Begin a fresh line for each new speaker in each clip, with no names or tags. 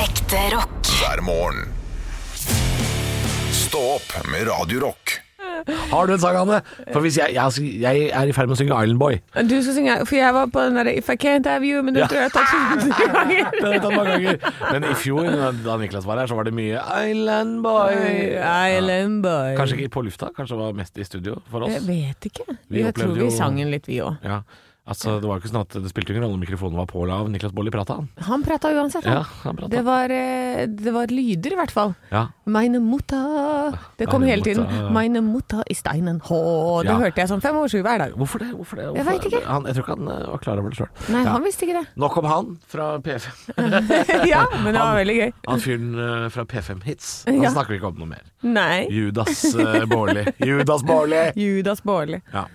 Ekte rock.
hver morgen. Stå opp med Radio Rock.
Har du en sang, Anne? For hvis jeg, jeg, jeg er i ferd med å synge Island Boy
Du skal synge, for jeg var på den der If I can't have you, men du
Ja.
tror jeg tar tusen
Det har jeg tatt mange ganger. Men i fjor, da Niklas var her, så var det mye Island Boy.
Island boy.
Kanskje ikke på lufta, kanskje det var mest i studio for
Jeg
oss.
vet ikke.
Vi
jeg tror
opplevde
vi
jo-
sang den litt, vi òg.
Ja. Altså, det var jo ikke sånn at det spilte ingen rolle om mikrofonen var på eller av. Niklas Bolli prata, han.
Han prata uansett, han.
Ja, han pratet.
Det var, eh, det var lyder, i hvert fall.
Ja.
Meine Mutter Det kom
Meine
hele tiden.
Mutter.
Meine Mutter i steinen. Hå, det
Ja.
hørte jeg som fem år sju hver dag.
Hvorfor det? Hvorfor det? Hvorfor?
Jeg vet ikke.
Han, jeg tror ikke han eh, var klar over det sjøl.
Nei, han visste ikke det.
Nok om han fra P5.
ja, men det var veldig gøy.
Han fyren eh, fra P5 Hits. Han
Ja.
snakker vi ikke om noe mer.
Nei.
Judas eh, Baarli. Judas Baarli!
Judas Baarli.
Ja.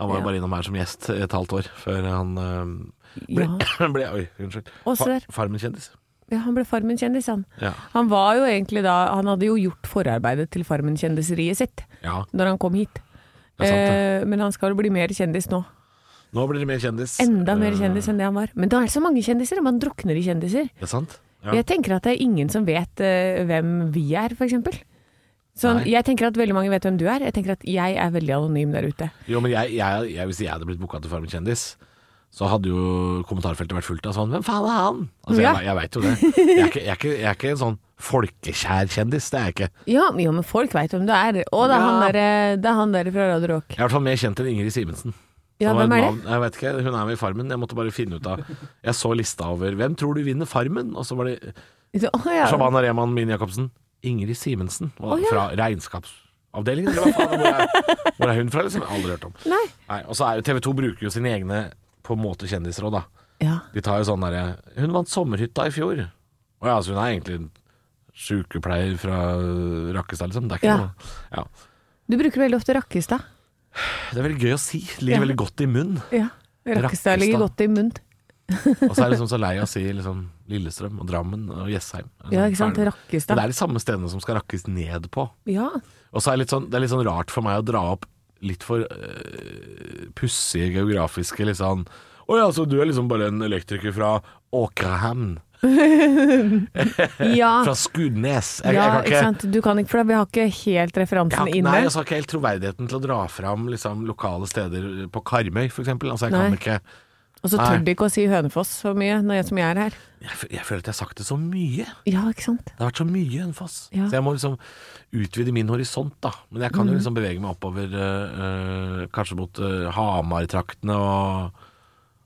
Han var jo
Ja.
bare innom her som gjest i et halvt år før han eh, ble, ble Oi, unnskyld.
Og så der.
Farmen-kjendis.
Ja, han ble Farmen-kjendis, han.
Ja.
Han var jo egentlig da Han hadde jo gjort forarbeidet til Farmen-kjendiseriet sitt
ja.
når han kom hit.
Det er sant,
Eh, men han skal jo bli mer kjendis nå.
Nå blir det mer kjendis.
Enda mer
Eh,
kjendis enn det han var. Men da er det så mange kjendiser, og man drukner i kjendiser.
Det er sant? Ja.
Jeg tenker at det er ingen som vet eh, hvem vi er, for eksempel. Sånn,
Nei.
jeg tenker at veldig mange vet hvem du er. Jeg tenker at jeg er veldig anonym der ute.
Jo, men jeg, jeg, jeg, hvis jeg hadde blitt booka til Farmen kjendis, så hadde jo kommentarfeltet vært fullt av sånn Hvem faen er han? Altså,
Ja.
jeg, jeg veit jo det. Jeg er, ikke, jeg, er ikke, jeg er ikke en sånn folkekjær kjendis, det er jeg ikke.
Ja, men- jo, men folk veit hvem du er. Og det er,
Ja.
han der, eh, det er han der fra Radio Rock.
Jeg er i hvert fall mer kjent enn Ingrid Simensen.
Ja,
Det var et
hvem er det?
navn- Jeg vet ikke, Hun er med i Farmen. Jeg måtte bare finne ut av Jeg så lista over Hvem tror du vinner Farmen? Og så var det
Så, å, ja.
Shabana Rehman, Min Jacobsen, Ingrid Simensen var
Å, ja.
fra regnskapsavdelingen. Eller hva faen, hvor, er, hvor er hun fra, liksom? Jeg har Aldri hørt om.
Nei.
Nei, og så er jo TV 2 bruker jo sine egne på en måte kjendiser òg, da.
Ja.
De tar jo sånn derre Hun vant Sommerhytta i fjor. Å ja, så hun er egentlig en sykepleier fra Rakkestad, liksom. Det er ikke
Ja.
noe ja.
Du bruker veldig ofte Rakkestad.
Det er veldig gøy å si. Ligger
Ja.
veldig godt i munn.
Ja.
Rakkestad.
Rakkestad ligger godt i munnen.
Og så er jeg liksom så lei av å si liksom Lillestrøm og Drammen og Jessheim.
Ja, ikke sant?
Ferdig. Men
Rakkestad.
det er de samme stedene som skal rakkes ned på.
Ja.
Og så er det litt sånn, det er litt sånn rart for meg å dra opp litt for øh, pussige geografiske litt sånn Å ja, så du er liksom bare en elektriker fra Åkerhamn?
ja.
Eh, Fra Skudenes? Jeg,
Ah. Ja,
jeg kan
ikke
ikke,
sant. Du kan ikke, for vi har ikke
jeg
helt
har,
referansen
ikke-
inne.
nei, altså, jeg har ikke helt troverdigheten til å dra fram liksom, lokale steder på Karmøy, for eksempel. Altså, jeg, kan
Nei.
ikke,
Og så
Nei.
tør du ikke å si Hønefoss så mye når jeg som jeg er her.
jeg, fø- jeg føler at jeg har sagt det så mye.
Ja, ikke sant.
Det har vært så mye Hønefoss.
Ja. Mm.
Så jeg må liksom utvide min horisont, da. Men jeg kan jo liksom bevege meg oppover øh, øh, kanskje mot øh, Hamar-traktene og,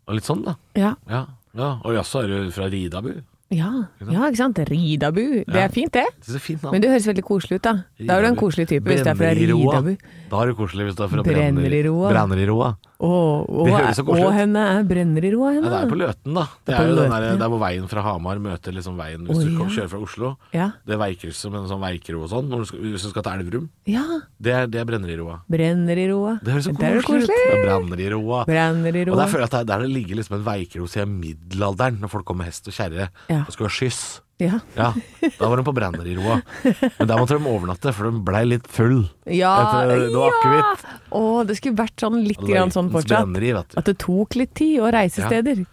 og litt sånn, da.
Ja.
Ja, ja. og jaså, er du fra Ridabu? Det
Ja, ja ikke sant. Ridabu. Det er fint, det.
er så fint navn.
Men det høres veldig koselig ut, da. Da er du en
Ridabu.
koselig type hvis det er fra
Brenneroa.
Ridabu.
Da er du koselig hvis du er fra
Brenneroa.
Brenneroa.
Og, og,
Det høres så koselig ut.
og henne er brenner i roa,
Ja, det er på
henne.
Løten, da. Det
Ah. på
er jo den
Løten,
der,
ja.
der hvor veien fra Hamar møter liksom veien hvis
Å,
du kom-
ja.
kjører fra Oslo.
Ja.
Det er veikrysset med en sånn veikro og sånn, når du skal, hvis du skal til Elverum.
ja.
Det er, det er Brenneriroa.
Brenner i roa.
Det høres så
Der er
koselig, ut.
det koselig.
Det er Brenneriroa.
Brenner i
Og
roa.
der føler jeg at det, der det ligger liksom en veikro siden middelalderen, når folk kom med hest og kjerre
Ja.
og skulle ha skyss.
Ja.
Ja, da var de på Brenneriroa. Men der måtte de overnatte, for de blei litt full.
Ja,
Etter- det var
ja.
akevitt.
Å, det skulle vært sånn litt grann sånn
Løytens
fortsatt.
brenneri, vet du.
At det tok litt tid å reise
Ja.
steder.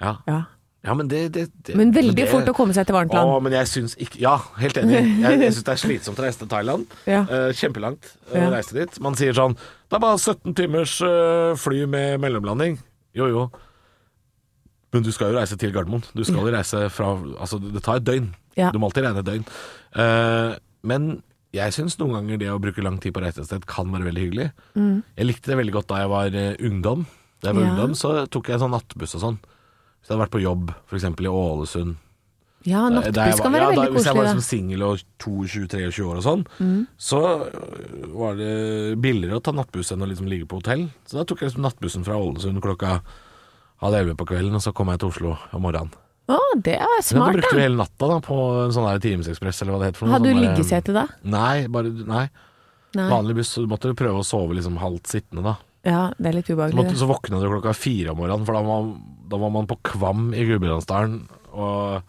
Ja.
Ja.
ja, men det, det, det
Men veldig fort å komme seg til varmt land.
Å, men jeg syns ikke Ja, helt enig. Jeg, jeg syns det er slitsomt å reise til Thailand.
Ja.
Eh, kjempelangt å
Ja.
reise dit. Man sier sånn Det er bare 17 timers eh, fly med mellomlanding. Jo, jo. Men du skal jo reise til Gardermoen. Du skal jo reise fra Altså, det tar et døgn.
Ja.
Du må alltid regne et døgn. Eh, men jeg syns noen ganger det å bruke lang tid på å reise et sted kan være veldig hyggelig. Jeg likte det veldig godt da jeg var eh, ungdom. Da jeg var
Mm. Ja.
ungdom, så tok jeg sånn nattbuss og sånn. Hvis jeg hadde vært på jobb, f.eks. i Ålesund
Ja,
da- da jeg
nattbuss
var-
kan være
ja, da,
veldig
Hvis jeg var
koselig, da. Mm.
liksom singel og 22-23 år og sånn, så øh, var det billigere å ta nattbuss enn å liksom ligge på hotell. Så da tok jeg liksom nattbussen fra Ålesund klokka halv elleve på kvelden, og så kom jeg til Oslo om morgenen.
Å, det er
Så da
smart,
brukte vi
da.
hele natta da på en sånn der timesekspress eller hva det heter. for noe,
Hadde
sånn
du
der-
liggesete da?
Nei, bare, nei.
Nei.
Vanlig buss, så måtte du prøve å sove liksom halvt sittende da.
Ja, det er litt
Så, måtte,
ubehagelig.
så våkna du klokka fire om morgenen, for da var, da var man på Kvam i Gudbrandsdalen og,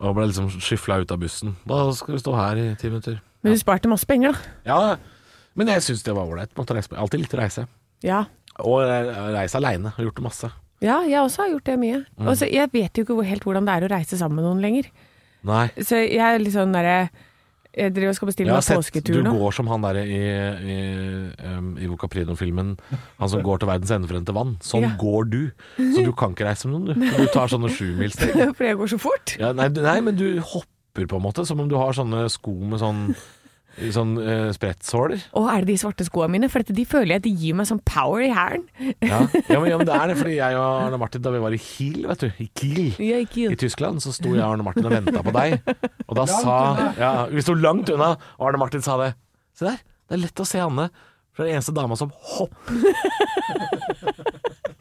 og ble liksom skyfla ut av bussen. Da skal vi stå her i ti minutter.
det. Men du sparte masse penger, da.
Ja, men jeg syns det var ålreit. måtte reise på- Jeg har alltid likt å reise.
Ja.
Og re- reise aleine. Har gjort det masse. Mm.
Altså, ja, jeg også har gjort det mye. Og så- jeg vet jo ikke hvor- helt hvordan det er å reise sammen med noen lenger.
Nei.
Så jeg er litt sånn derre Jeg driver og skal
Jeg
bestille
har
meg
sett du
påsketur nå.
går som han derre i, i, um, i Ivo Caprino-filmen. Han som går til verdens ende for å hente vann. Sånn
Ja.
går du. Så du kan ikke reise med noen, du. Du tar sånne sjumilssteg.
Fordi jeg går så fort.
Ja, nei, du- nei, men du hopper på en måte, som om du har sånne sko med sånn, sånn eh, sprettsåler.
Å, er det de svarte skoene mine? For dette, de føler jeg at de gir meg sånn power i hælen.
Ja. Ja, men, ja, men det er det, fordi jeg og Arne Martin, da vi var i Kiel, vet du, i Kiel
Ja, ikke
i Tyskland, så sto jeg og Arne Martin og venta på deg. Og da sa ja, Vi sto langt unna, og Arne Martin sa det. Se der, det er lett å se Anne. For det er den eneste dama som hopper.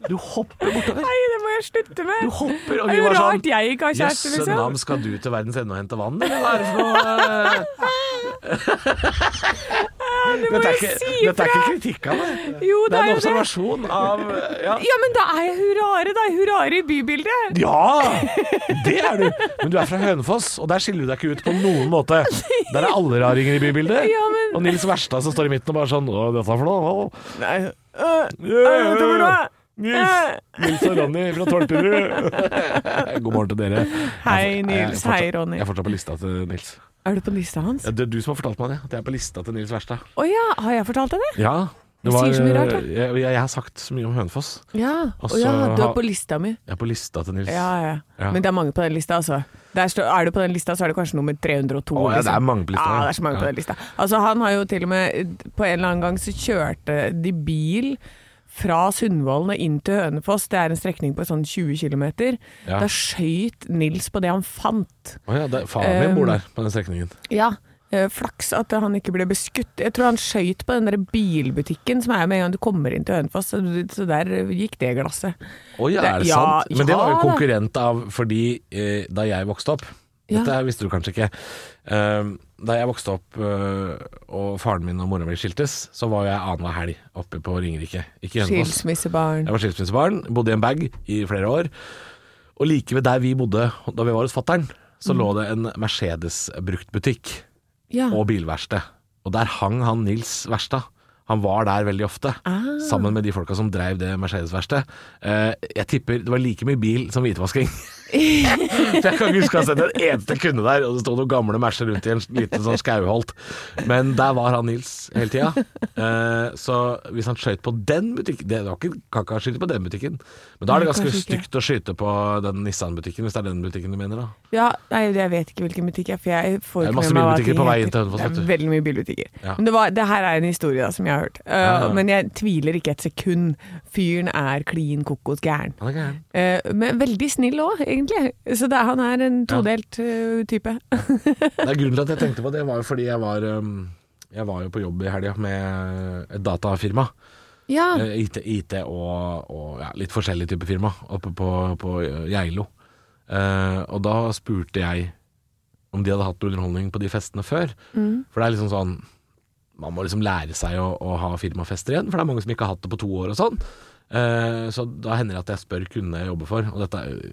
Du hopper bortover.
Nei, det må jeg slutte med!
Du hopper, og
Det
vi
er jo
var sånn
rart jeg ikke har kjæreste,
Jøsse
liksom.
navn, skal du til verdens ende og hente vann, eller hva er det for noe
Det Ah, må
Dette er
jeg
ikke,
si
dette er
fra!
ikke kritikk av meg.
Jo,
Det
det
er
er
en
jo det.
observasjon av ja.
Ja, men da er jeg hurrare, da. Hurrare i bybildet.
ja! Det er du. Men du er fra Hønefoss, og der skiller du deg ikke ut på noen måte. Der er alle raringer i bybildet.
Ja, men-
Og Nils Verstad som står i midten og bare sånn Å, dette er for noe?
Nei. Ah,
Yeah,
dette var noe. Ah.
Nils, Nils og Ronny fra Tolperud. God morgen til dere. Jeg
Hei,
er for-
Nils.
jeg er
Hei,
fortsatt-
Ronny.
Jeg er fortsatt på lista til Nils.
Er du på lista hans?
Ja, Det er du som har fortalt meg det. At jeg er på lista til Nils Verstad.
Å ja, har jeg fortalt deg det?
Ja. Det
Du
var,
sier så mye rart, da.
jeg, jeg, jeg har sagt så mye om Hønefoss.
Ja.
Og
Å ja,
så
du
har-
er på lista mi.
Jeg er på lista til Nils.
Ja, ja.
Ja.
Men det er mange på den lista, altså. Der står, er du på den lista, så er det kanskje nummer 302.
Å, ja, det er mange på lista,
liksom. Ja,
ja.
det er så mange
Ja.
på den lista. Altså, han har jo til og med På en eller annen gang så kjørte de bil fra Sundvolden og inn til Hønefoss. Det er en strekning på sånn 20 km.
Ja.
Da skøyt Nils på det han fant.
Å ja, det, faren min
Um,
bor der, på den strekningen.
Ja. Flaks at han ikke ble beskutt. Jeg tror han skøyt på den der bilbutikken som er med en gang du kommer inn til Hønefoss, så så der gikk det glasset.
Oi,
Det-
er det
ja,
sant? Men det var jo
ja da.
konkurrent av Fordi eh, da jeg vokste opp
Ja.
Dette her visste du kanskje ikke eh, Da jeg vokste opp eh, Og faren min og moren min skiltes Så var jeg annenhver helg oppe på Ringerike Ikke i Hønefoss
Skilsmissebarn.
Jeg var skilsmissebarn, bodde i en bag i flere år Og like ved der vi bodde Da vi var hos fatteren Så lå det en Mercedes bruktbutikk
Ja.
og bilverksted. Og der hang han Nils Verstad. Han var der veldig ofte,
Ah.
sammen med de folka som dreiv det Mercedes-verkstedet. Eh, jeg tipper det var like mye bil som hvitvasking. For jeg kan ikke huske å ha sett en eneste kunde der, og det sto noen gamle Mercer rundt i en liten sånn skauholt. Men der var han Nils hele tida. Eh, så hvis han skøyt på den butikken Det var ikke, kan ikke ha skutt på den butikken, men da er det
Nei,
ganske
kanskje ikke.
stygt å skyte på den Nissan-butikken, hvis det er den butikken du mener, da.
Ja, nei, jeg vet ikke hvilken butikk jeg For jeg får
Det er
ikke
masse
med meg hva
bilbutikker
ting
på vei inn
heter.
til Hønefoss,
Det
vet
er
du.
veldig mye bilbutikker.
Ja.
Men det, var, det her er en historie da, som jeg har hørt. Uh,
ja.
Men jeg tviler ikke et sekund. Fyren er klin kokos gæren.
Han er gæren.
Eh, men veldig snill òg, egentlig. Så det, er- han er en todelt eh, type.
Det er grunnen til at jeg tenkte på det, var jo fordi jeg var um, Jeg var jo på jobb i helga med et datafirma.
ja.
Eh, IT, IT og, og ja, litt forskjellig type firma oppe på, på Geilo. Eh, og da spurte jeg om de hadde hatt underholdning på de festene før. For det er liksom sånn Man må liksom lære seg å, å ha firmafester igjen, for det er mange som ikke har hatt det på to år og sånn. Eh, så da hender det at jeg spør kundene jeg jobber for, og dette er jo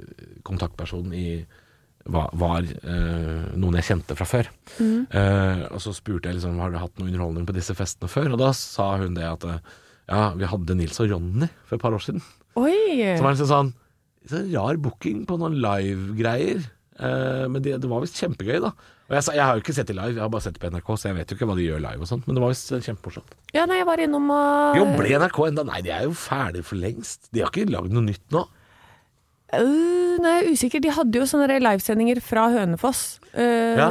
kontaktpersonen i var, var eh, noen jeg kjente fra før. Eh, og så spurte jeg liksom, har du hatt noe underholdning på disse festene før, og da sa hun det at eh, ja, vi hadde Nils og Ronny for et par år siden.
Oi!
Så var det liksom sånn, så rar booking på noen live-greier. Eh, men det, det var visst kjempegøy, da. Og jeg, sa, jeg har jo ikke sett det live, jeg har bare sett det på NRK, så jeg vet jo ikke hva de gjør live og sånt, men det var visst eh, kjempemorsomt.
Ja, nei, jeg var innom og
Jo, ble NRK enda? Nei, de er jo ferdig for lengst. De har ikke lagd noe nytt nå.
Øh, nei, jeg er usikker. De hadde jo sånne der livesendinger fra Hønefoss. Øh,
Ja.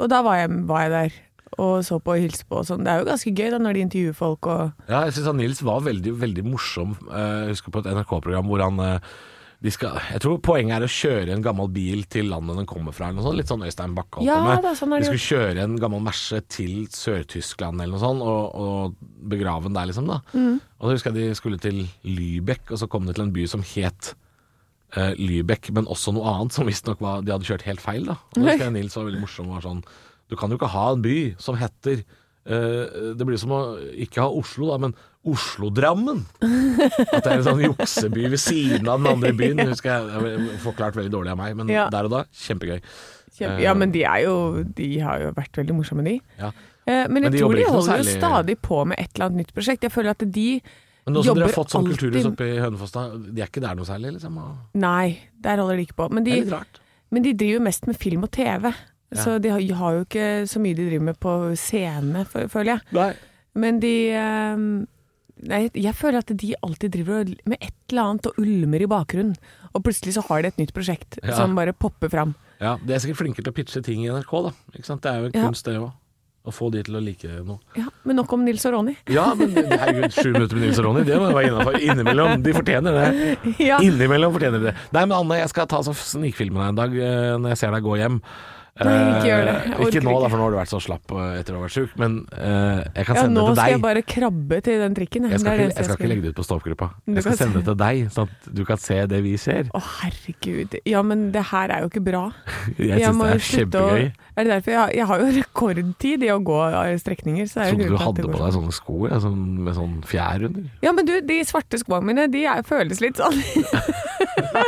Og da var jeg, var jeg der og så på og hilste på og sånn. Det er jo ganske gøy da når de intervjuer folk og
Ja, jeg syns Nils var veldig, veldig morsom. Eh, Jeg husker på et NRK-program hvor han eh, de skal, jeg tror poenget er å kjøre en gammel bil til landet den kommer fra. Eller noe sånt. Litt sånn Øystein Bakke holdt
Ja,
på med.
da, sånn er
de
det
skulle kjøre en gammel Merce til Sør-Tyskland eller noe sånt, og, og begrave den der, liksom. da
Mm.
Og så husker jeg de skulle til Lybekk, og så kom de til en by som het eh, Lybekk, men også noe annet som visstnok var De hadde kjørt helt feil, da. Og da husker jeg Nils var veldig morsom og var sånn Du kan jo ikke ha en by som heter eh, Det blir som å ikke ha Oslo, da, men Oslo-Drammen. At det er en sånn jukseby ved siden av den andre byen. Husker jeg, det er Forklart veldig dårlig av meg, men
Ja.
der og da, kjempegøy.
kjempe,
Eh.
Ja, men de er jo De har jo vært veldig morsomme, de.
Ja.
Eh, men
Men
jeg
de jobber
tror de
ikke noe
holder jo
særlig-
stadig på med et eller annet nytt prosjekt. Jeg føler at de
Men nå som dere
jobber
har fått sånn
alltid-
kulturhus oppe i Hønefoss, da, de er ikke der noe særlig, liksom? og-
Nei, der holder de ikke på. Men
Det
de,
er litt rart.
Men de driver mest med film og TV. Så de har, har jo ikke så mye de driver med på scene, fø- føler jeg.
Nei.
Men de eh, Nei, jeg føler at de alltid driver og- med et eller annet og ulmer i bakgrunnen. Og plutselig så har de et nytt prosjekt
Ja.
som bare popper fram.
Ja, De er sikkert flinkere til å pitche ting i NRK, da. Ikke sant? Det er jo en
Ja.
kunst, det òg. Å få de til å like noe.
Ja, Men nok om Nils og Ronny.
Ja, men herregud, sju minutter med Nils og Ronny, det må jo være innafor. Innimellom. De fortjener det.
Ja.
Innimellom fortjener de det. Nei, men Anne, jeg skal ta så snikfilmen en dag eh, når jeg ser deg gå hjem.
Nei, ikke gjør det. Jeg
Eh,
orker
Ikke nå, da,
ikke.
for nå har du vært så slapp eh, etter å ha vært sjuk, men eh, jeg kan
Ja,
sende
nå
det til
skal
deg.
jeg bare krabbe til den trikken.
Jeg skal,
det
ikke, jeg skal ikke legge det ut på stoppgruppa.
Du
Jeg skal
kan
sende det til deg, sånn at du kan se det vi ser.
Å, herregud. Ja, men det her er jo ikke bra.
Jeg syns det er
å
kjempegøy.
Er det derfor? Jeg, jeg har jo rekordtid i å gå eh, strekninger. Så det er jo
Jeg trodde du
grunnen til at det
hadde på
går
deg sånne sko jeg, sånn, med sånn fjær under.
Ja, men du, de svarte skoene mine, de er, føles litt sånn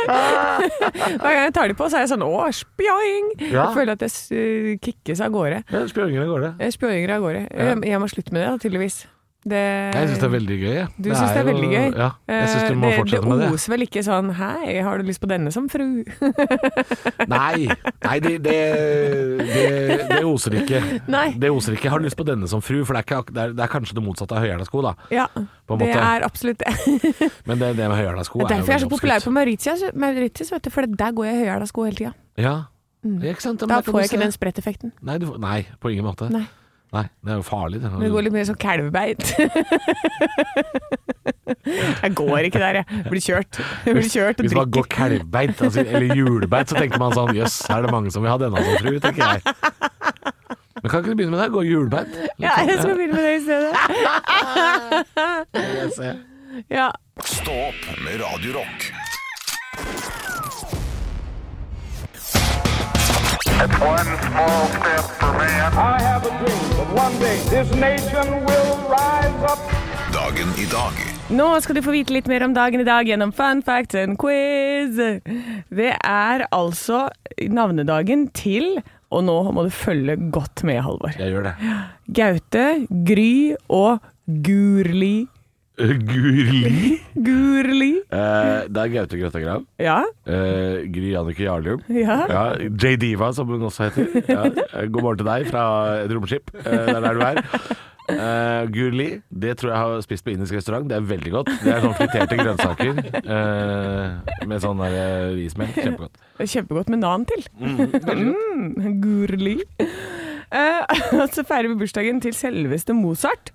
Hver gang jeg tar de på, så er jeg sånn åh, spjoing!
Ja.
Jeg føler at jeg s- kikkes av gårde.
Ja, Spjørgene går det.
Eh, Spjoinger av gårde.
Ja.
Jeg, jeg må slutte med det, da, tydeligvis. Det,
Jeg syns det er veldig gøy. jeg.
Eh, Du syns det er
jo-
veldig gøy?
Ja, jeg syns du
Eh,
må
det,
fortsette med
Det
det.
oser vel ikke sånn 'hei, har du lyst på denne som fru'?
Nei, nei det, det, det, det oser ikke.
Nei.
Det oser ikke. Jeg har lyst på denne som fru, for det er, ikke, ak- det er, det er kanskje det motsatte av høyhæla sko, da.
Ja,
På en
det
måte.
er absolutt det.
Men det, det med høyhæla sko
Det er
er jo
derfor jeg er så
veldig
populær
oppskrytt.
på Mauritius, Mauritius vet du, for der går jeg i høyhæla sko hele tida.
Ja, ikke sant? Men
Mm. Da
det kan
får
du
jeg ikke
se.
den spretteffekten.
Nei, du, får- nei, på ingen måte.
Nei.
Nei, det er jo farlig. Det,
Men det går litt mer sånn kalvebeit. jeg går ikke der, jeg. Blir kjørt. Jeg blir kjørt og
Hvis man går
drikker.
kalvbeit, altså, eller julebeit, så tenker man sånn Jøss, her er det mange som vil ha denne som fru, tenker jeg. Men kan ikke du begynne med det? Gå sånn. julebeit?
Ja, jeg skal begynne med det i stedet.
jeg ser.
Ja.
Stå opp med Radio Rock.
It's one small step for man.
I have a dream that one day this nation will rise up.
Dagen i dag
Nå skal du få vite litt mer om dagen i dag gjennom fun facts and quiz. Det er altså navnedagen til og nå må du følge godt med, Halvor.
Jeg gjør det.
Gaute, Gry og Gurli.
Gurli.
Gurli.
Eh, det er Gaute Grøtta Grav.
Ja,
Eh, Gry Jannicke Jarlum.
Ja.
J Diva, som hun også heter. Ja. eh, God morgen til deg fra et romskip. Eh, det er der du er. Eh, Gurli, det tror jeg har spist på indisk restaurant. Det er veldig godt. Det er sånn friterte grønnsaker eh, med sånn der, eh, rismel. Kjempegodt.
Det er Kjempegodt med nan til. Mm, gurli. Eh, og så feirer vi bursdagen til selveste Mozart.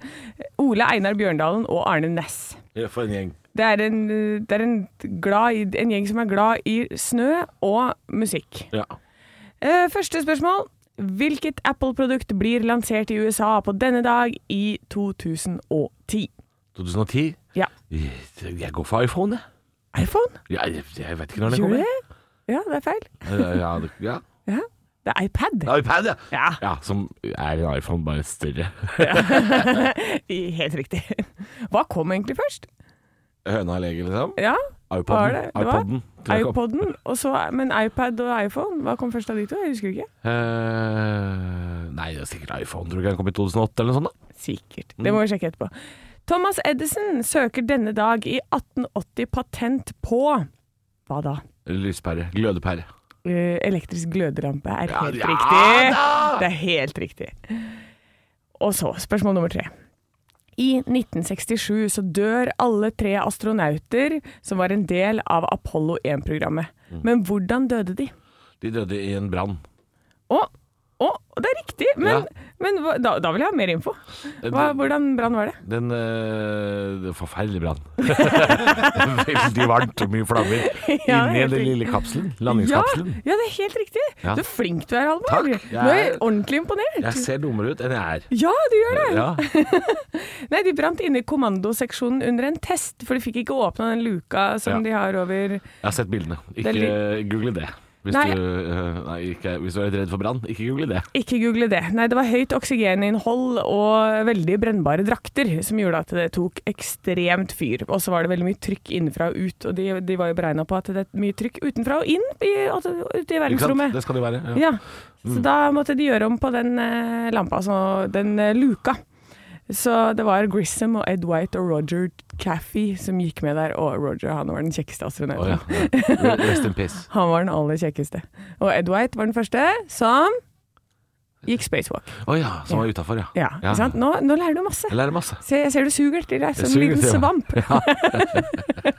Ole Einar Bjørndalen og Arne Næss.
For en gjeng.
Det er, en, eh, det er en, glad i, en gjeng som er glad i snø og musikk.
Ja.
Eh, første spørsmål. Hvilket Apple-produkt blir lansert i USA på denne dag i 2010?
2010.
Ja.
Jeg går for iPhone, jeg.
iPhone?
Jeg, jeg, jeg vet ikke når den
Gjør du
kommer.
det? Ja, det er feil.
Eh, Ja, det- ja.
Ja. Det er iPad.
iPad, ja.
Ja,
ja. Som er en iPhone, bare større.
helt riktig. Hva kom egentlig først?
Høna eller egget, liksom?
Ja, Var
iPoden.
det? Det var
iPoden, tror jeg kom.
iPoden, og så, men iPad og iPhone, hva kom først av de to? Jeg husker ikke.
Eh, nei, det er sikkert iPhone. Tror du ikke den kom i 2008 eller noe sånt? da?
Sikkert. Det
Mm.
må vi sjekke etterpå. Thomas Edison søker denne dag i 1880 patent på hva da?
Lyspære. Glødepære.
Eh, Elektrisk gløderampe er
Ja,
helt
ja
riktig. Det er helt riktig. Og så, spørsmål nummer tre. I 1967 så dør alle tre astronauter som var en del av Apollo 1-programmet.
Mm.
Men hvordan døde de?
De døde i en brann.
Å, å, det er riktig! Men,
Ja. Eh,
men hva- da, da vil jeg ha mer info. Hva, hvordan brann var det?
Den eh, det var Forferdelig brann. Veldig varmt og mye flammer.
Ja,
Inni
helt
den
riktig.
lille kapselen.
Ja,
Landingskapselen.
ja, det er helt riktig!
Ja.
Du er flink du er, Halvor.
Takk. Jeg
Nå er jeg
er-
ordentlig imponert.
Jeg ser dummere ut enn jeg er.
Ja, du gjør det!
Ja.
Nei, de brant inne i kommandoseksjonen under en test, for de fikk ikke åpna den luka som
Ja.
de har over
Jeg har sett bildene. Ikke
Det
google det. Hvis,
Nei.
Du, eh, nei, ikke, hvis du er litt redd for brann, ikke google det.
Ikke google det. Nei, det var høyt oksygeninnhold og veldig brennbare drakter som gjorde at det tok ekstremt fyr. Og så var det veldig mye trykk innenfra og ut, og de, de var jo beregna på at det er mye trykk utenfra og inn i, altså, ut i
Ikke sant?
verdensrommet.
Det Mm. skal det være. Ja.
Ja, så da måtte de gjøre om på den eh, lampa, altså den eh, luka. Så det var Grissom og Ed White og Roger Caffey som gikk med der. Og Roger han var den kjekkeste astronauten.
Å, ja. Ja. Rest in peace.
Han var den aller kjekkeste. Og Ed White var den første som gikk spacewalk.
Å ja, som var utafor, ja.
Ja, ikke sant? Nå, nå lærer du masse.
Jeg lærer masse.
Se, jeg ser du suger etter deg som en
suger
liten
etter meg.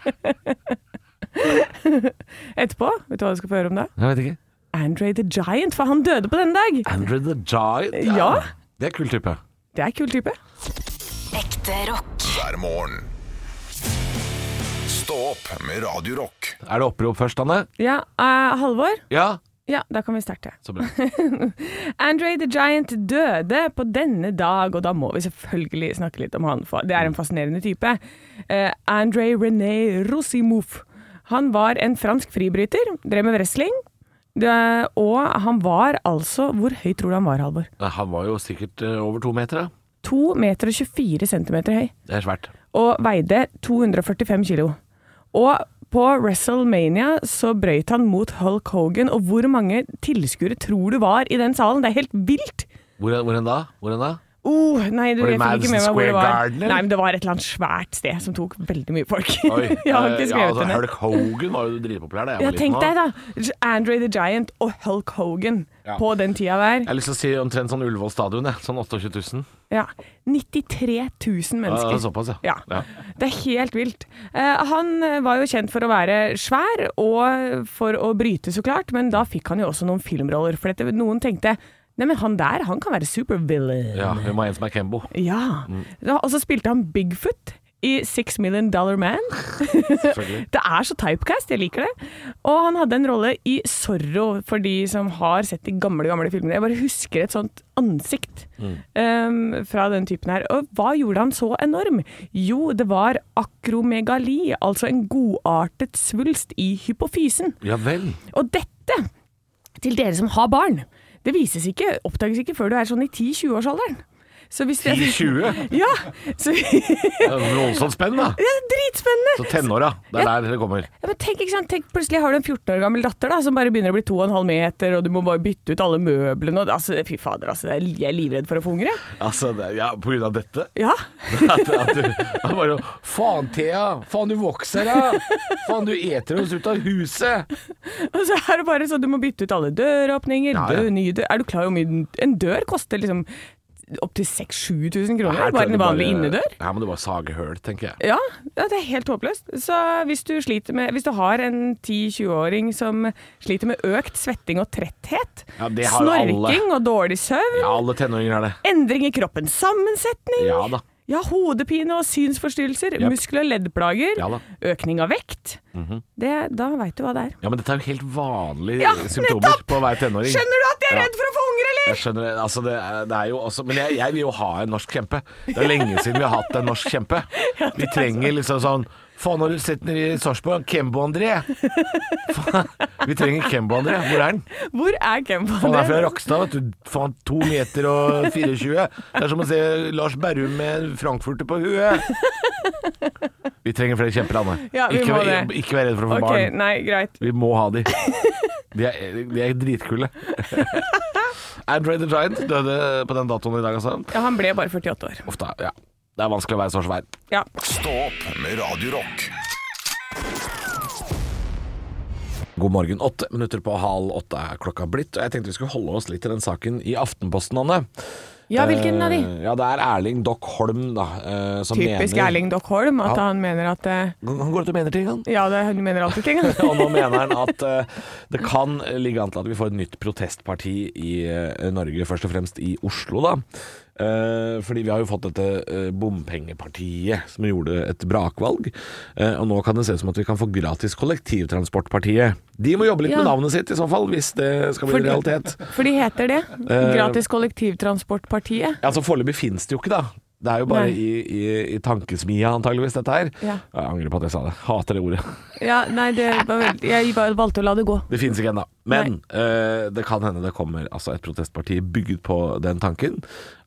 svamp. Etterpå, vet du hva du skal få høre om da?
Jeg vet ikke.
Andre the Giant, for han døde på denne dag!
Andrew the Giant.
Ja.
Det er kul type.
Det er kul type.
Ekte rock.
hver morgen. Stå opp med Radio Rock.
Er det opprop først, Anne?
Ja, eh, Halvor?
Ja.
Ja, da kan vi starte.
Så bra.
Andre the Giant døde på denne dag, og da må vi selvfølgelig snakke litt om han, for det er en fascinerende type. Eh, Andre René Rosimov. Han var en fransk fribryter, drev med wrestling, det, og han var altså Hvor høy tror du han var, Halvor?
Nei, Han var jo sikkert eh, over to meter, da.
2 meter og 24 centimeter høy,
Det er svært.
og veide 245 kilo. Og på WrestleMania så brøyt han mot Hulk Hogan, og hvor mange tilskuere tror du var i den salen? Det er helt vilt!
Hvor er, hvor er den da? Hvor er den da?
Oh, nei, du,
Var det
jeg fikk ikke
Madison
med meg hvor
Square
det var.
Garden, eller?
Nei, men det var et eller annet svært sted som tok veldig mye folk.
Oi,
jeg har
eh,
ikke
ja,
skrevet
altså,
det ned.
Hulk Hogan var jo dritpopulær da jeg
Ja,
var liten.
tenk
også.
deg da, Andre the Giant og Hulk Hogan
Ja.
på den tida der.
Jeg har lyst til å si omtrent sånn Ullevål stadion, jeg. Sånn 28 000.
Ja, 93 000
Ja,
mennesker.
det er Eh, såpass, ja. Ja.
Det er helt vilt. Eh, han var jo kjent for å være svær og for å bryte, så klart, men da fikk han jo også noen filmroller. For dette, noen tenkte Nei, men han der, han kan være supervillain.
Ja, vi må ha en som er Kembo.
Ja. Da- Og så spilte han Bigfoot i Six Million Dollar Man. det er så typecast, jeg liker det. Og han hadde en rolle i Zorro, for de som har sett de gamle, gamle filmene. Jeg bare husker et sånt ansikt um, fra den typen her. Og hva gjorde han så enorm? Jo, det var akromegali, altså en godartet svulst i hypofysen.
Ja vel.
Og dette, til dere som har barn, det vises ikke, oppdages ikke før du er sånn i 10-20-årsalderen. Så hvis det-
10-20?
Ja, så
Det er Voldsomt spenn, da.
ja, Dritspennende!
Så tenåra. Det er der det kommer.
Ja, men tenk, ikke sant? tenk, plutselig har du en 14 år gammel datter da, som bare begynner å bli 2,5 meter, og du må bare bytte ut alle møblene. Og, altså, fy fader, altså, jeg er livredd for å få unger. jeg.
Altså, det, ja, på grunn av dette?
Ja.
At, at du, han bare Faen, Thea! Faen, du vokser, da! Faen, du eter oss ut av huset!
Og så er det bare sånn du må bytte ut alle døråpninger.
Ja, ja.
Død, nye dør. Er du klar over hvor mye en dør koster? liksom Opptil 6000-7000 kroner?
Her
bare
kan du
en vanlig innedør?
Her må du bare sage høl, tenker jeg.
Ja, ja, det er helt håpløst. Så hvis du, sliter med, hvis du har en 10-20-åring som sliter med økt svetting og tretthet,
Ja, det har jo alle.
snorking og dårlig søvn,
Ja, alle tenåringer er det.
endring i kroppens sammensetning,
Ja da.
ja, hodepine og synsforstyrrelser,
Jep.
muskel- og leddplager,
Ja da. Mhm.
økning av vekt, det, da veit du hva det er.
Ja, men dette er jo helt vanlige
Ja,
Eh, symptomer
nettopp!
på å være tenåring.
Skjønner du at jeg er
Ja.
redd for å få unger,
Jeg
eller?
skjønner det. Altså, det, er, det er jo også Men jeg, jeg vil jo ha en norsk kjempe. Det er lenge siden vi har hatt en norsk kjempe. Vi trenger liksom sånn Faen, har du sett den i Sarpsborg? Kembo André! Faen, Vi trenger Kembo André. Hvor er den?
Hvor er Kempo?
Han er fra Rakstad, vet du. Faen, to meter og 24. Det er som å se Lars Berrum med frankfurter på huet. Vi trenger flere kjemper, Anne.
Ja, vi
ikke,
må
vær-
det.
ikke vær redd for å få
Ok,
barn.
nei, greit.
Vi må ha de. De er, de er dritkule. Andre the Giant døde på den datoen i dag, altså.
Ja, han ble bare 48 år.
Uff da, ja. Det er vanskelig å være så svær.
Ja.
Stå opp med Radio Rock.
God morgen. Åtte minutter på halv åtte er klokka blitt. Og jeg tenkte vi skulle holde oss litt til den saken i Aftenposten, Anne.
ja, hvilken av de?
Eh, Ja, det er Erling Dock Holm, da. eh, som
Typisk
mener,
Erling Dockholm, at
Ja.
han mener at eh,
Han går ut og mener ting, han.
Ja, det, hun mener alltid ting.
Og nå mener han at eh, det kan ligge an til at vi får et nytt protestparti i eh, Norge, først og fremst i Oslo, da. Eh, fordi vi har jo fått dette eh, bompengepartiet som gjorde et brakvalg. Eh, og nå kan det se ut som at vi kan få gratis kollektivtransportpartiet. De må jobbe litt
Ja.
med navnet sitt i så fall, hvis det skal bli
Fordi-
realitet. Eh,
For de heter det. Gratis kollektivtransportpartiet.
Ja, Altså Foreløpig finnes det jo ikke, da. Det er jo bare
Nei.
i, i, i tankesmia, antageligvis, dette her.
Ja.
Jeg angrer på at jeg sa det. Hater det ordet.
Ja, nei, det var vel, jeg var- valgte å la det gå.
Det finnes ikke ennå. Men eh, det kan hende det kommer altså, et protestparti bygget på den tanken.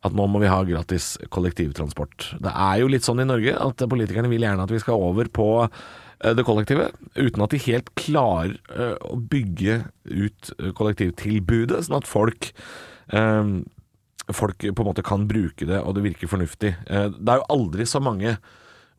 At nå må vi ha gratis kollektivtransport. Det er jo litt sånn i Norge at politikerne vil gjerne at vi skal over på eh, det kollektive, uten at de helt klarer eh, å bygge ut eh, kollektivtilbudet, sånn at folk eh, folk på en måte kan bruke det, og det virker fornuftig. Eh, Det er jo aldri så mange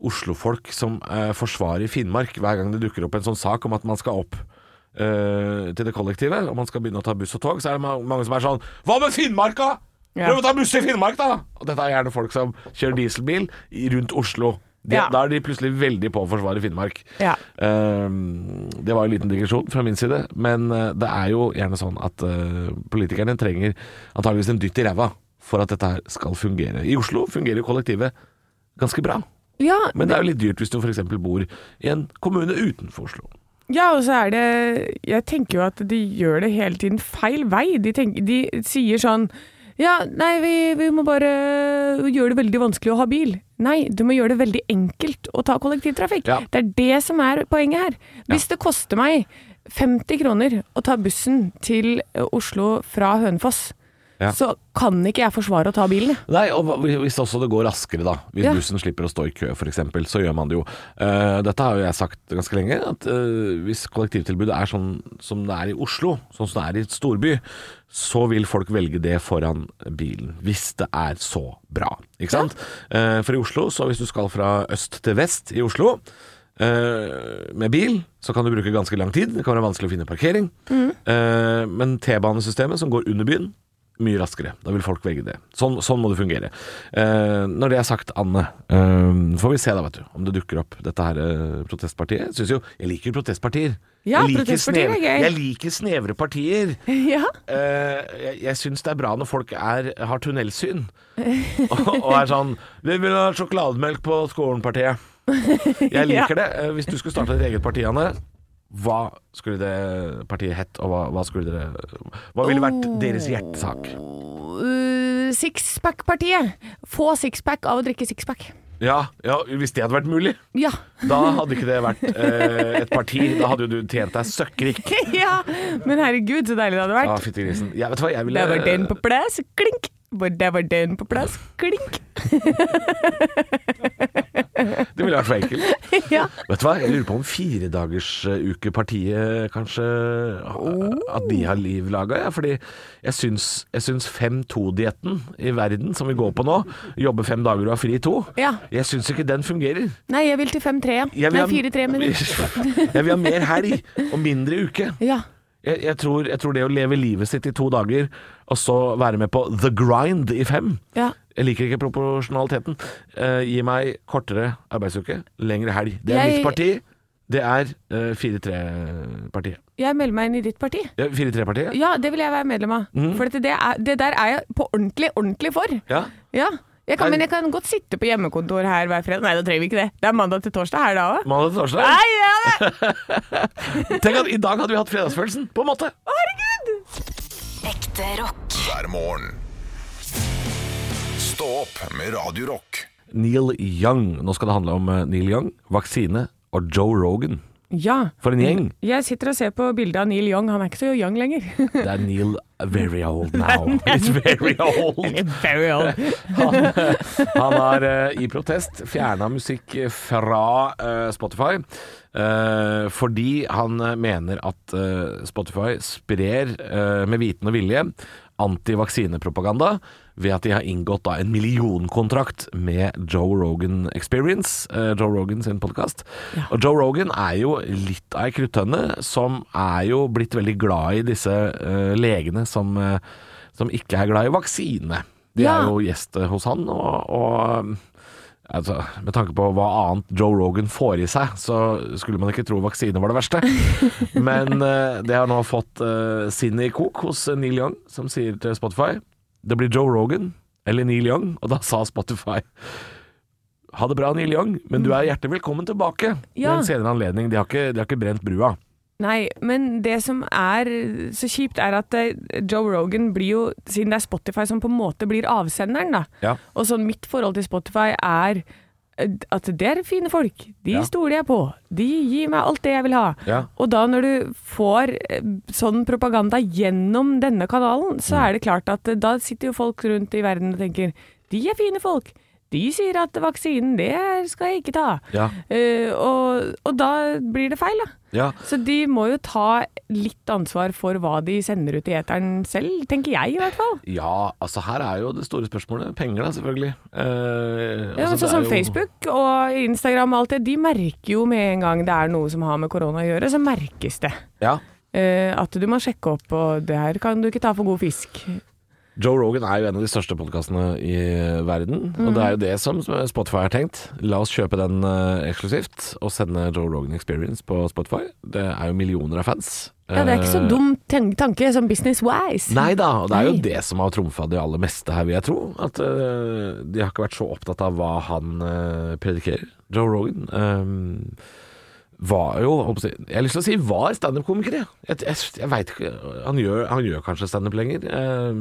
Oslo-folk som eh, forsvarer Finnmark hver gang det dukker opp en sånn sak om at man skal opp eh, til det kollektive, og man skal begynne å ta buss og tog, så er det ma- mange som er sånn Hva med Finnmarka?!
Ja.
Prøv å ta buss til Finnmark, da! Og dette er gjerne folk som kjører dieselbil i- rundt Oslo. De,
Ja.
Da er de plutselig veldig på å forsvare Finnmark.
Ja.
Ehm, Det var en liten digresjon fra min side, men eh, det er jo gjerne sånn at eh, politikerne trenger antageligvis en dytt i ræva for at dette her skal fungere. I Oslo fungerer jo kollektivet ganske bra,
Ja,
men det er jo litt dyrt hvis du f.eks. bor i en kommune utenfor Oslo.
Ja, og så er det Jeg tenker jo at de gjør det hele tiden feil vei. De, tenk- de sier sånn Ja, nei, vi, vi må bare gjøre det veldig vanskelig å ha bil. Nei, du må gjøre det veldig enkelt å ta kollektivtrafikk.
Ja.
Det er det som er poenget her. Hvis det koster meg 50 kroner å ta bussen til eh, Oslo fra Hønefoss,
Ja.
så kan ikke jeg forsvare å ta bilen. jeg.
Nei, og hva- hvis også det går raskere, da. Hvis
Ja.
bussen slipper å stå i kø, f.eks., så gjør man det jo. Eh, dette har jo jeg sagt ganske lenge, at eh, hvis kollektivtilbudet er sånn som det er i Oslo, sånn som det er i et storby, så vil folk velge det foran bilen. Hvis det er så bra, ikke sant? Eh, for i Oslo, så hvis du skal fra øst til vest i Oslo eh, med bil så kan du bruke ganske lang tid. Det kan være vanskelig å finne parkering. Eh, men T-banesystemet som går under byen, mye raskere. Da vil folk velge det. Sånn, sånn må det fungere. Eh, når det er sagt, Anne, eh, får vi se da, vet du, om det dukker opp dette her eh, protestpartiet. Jeg Synes jo, jeg liker jo protestpartier.
Ja,
jeg liker
protestpartier er
snevre-
gøy.
Jeg liker snevre partier.
Ja.
Eh, jeg jeg syns det er bra når folk er, har tunnelsyn og, og er sånn 'Vi vil ha sjokolademelk på skolen-partiet'. Jeg liker det. Eh, Hvis du skulle starta ditt eget parti, Anne, hva skulle det partiet hett, og hva, hva skulle dere Hva ville vært
Oh.
deres hjertesak?
Uh, Sixpack-partiet. Få sixpack av å drikke sixpack.
Ja, ja, hvis det hadde vært mulig.
Ja.
Da hadde ikke det vært eh, et parti. Da hadde jo du tjent deg søkkrik.
ja. Men herregud, så deilig det hadde vært.
Ja, fytti grisen. Jeg vet du hva, jeg ville
Der var den på plass, klink. Hvor Der var den på plass, klink.
Det ville vært for enkelt.
Ja.
Vet du hva, jeg lurer på om firedagersukepartiet kanskje
Oh.
At de har liv laga, ja. Fordi jeg syns, jeg syns 5-2-dietten i verden, som vi går på nå, jobbe fem dager og ha fri i to,
Ja.
jeg syns ikke den fungerer.
Nei, jeg vil til 5-3. ja.
Jeg
Nei,
vil ha-
4-3 minutter.
Jeg vil ha mer helg og mindre uke.
Ja.
Jeg, jeg, tror, jeg tror det å leve livet sitt i to dager, og så være med på the grind i fem
Ja.
Jeg liker ikke proporsjonaliteten. Eh, gi meg kortere arbeidsuke, lengre helg. Det er
Jeg-
mitt parti. Det er eh, 4-3-partiet.
Jeg melder meg inn i ditt parti.
Ja, 4-3-partiet?
Ja, det vil jeg være medlem av.
Mhm.
For dette- det, er, det der er jeg på ordentlig, ordentlig for.
Ja.
Ja. Jeg kan,
Er-
men jeg kan godt sitte på hjemmekontor her hver fredag. Nei, da trenger vi ikke det. Det er mandag til torsdag her da òg.
Mandag til torsdag?
Nei, ja, det!
Tenk at i dag hadde vi hatt fredagsfølelsen, på en måte.
Ekte rock.
hver morgen. Stå opp med Radio Rock.
Neil Young. Nå skal det handle om eh, Neil Young, vaksine og Joe Rogan.
Ja.
For en gjeng.
Jeg sitter og ser på bildet av Neil Young. Han er ikke så young lenger.
Det er Neil very old now. It's very old.
Very old.
Han har eh, i protest fjerna musikk fra eh, Spotify eh, fordi han eh, mener at eh, Spotify sprer eh, med viten og vilje antivaksinepropaganda ved at de har inngått da, en millionkontrakt med Joe Rogan Experience, eh, Joe Rogan sin podkast. Og Joe Rogan er jo litt av ei kruttønne, som er jo blitt veldig glad i disse eh, legene som, eh, som ikke er glad i vaksine. De
Ja.
er jo gjest eh, hos han, og, og um, altså, med tanke på hva annet Joe Rogan får i seg, så skulle man ikke tro vaksine var det verste. Men eh, det har nå fått eh, sinnet i kok hos eh, Neil Young, som sier til Spotify Det blir Joe Rogan eller Neil Young, og da sa Spotify ha det bra, Neil Young, men du er hjertelig velkommen tilbake ved
Ja.
en senere anledning. De har ikke, de har ikke brent brua.
Nei, men det som er så kjipt, er at eh, Joe Rogan blir jo Siden det er Spotify som på en måte blir avsenderen, da.
Ja.
Og sånn mitt forhold til Spotify er eh, at det er fine folk. De
Ja.
stoler jeg på. De gir meg alt det jeg vil ha.
Ja.
Og da når du får eh, sånn propaganda gjennom
Mm.
denne kanalen, så er det klart at eh, da sitter jo folk rundt i verden og tenker De er fine folk. De sier at vaksinen, det skal jeg ikke ta.
Ja.
Eh, og, og da blir det feil, da.
Ja.
Så de må jo ta litt ansvar for hva de sender ut i eteren selv, tenker jeg i hvert fall.
Ja, altså her er jo det store spørsmålet. Penger, da, selvfølgelig. Eh,
Ja,
altså,
men
det
sånn
er
som
jo-
Facebook og Instagram og alt det, de merker jo med en gang det er noe som har med korona å gjøre, så merkes det.
Ja.
Eh, at du må sjekke opp, og det her kan du ikke ta for god fisk.
Joe Rogan er jo en av de største podkastene i verden. Og det er jo det som Spotify har tenkt. La oss kjøpe den eh, eksklusivt og sende Joe Rogan Experience på Spotify. Det er jo millioner av fans.
Ja, det er ikke så
Eh,
dum ten- tanke som business-wise.
Nei da, og det er jo
Nei.
det som har trumfa det aller meste her, vil jeg tro. At eh, de har ikke vært så opptatt av hva han eh, predikerer. Joe Rogan eh, var jo holdt på å si- Jeg har lyst til å si var standup-komiker, jeg. Jeg, jeg, jeg vet ikke Han gjør, han gjør kanskje standup lenger. Eh,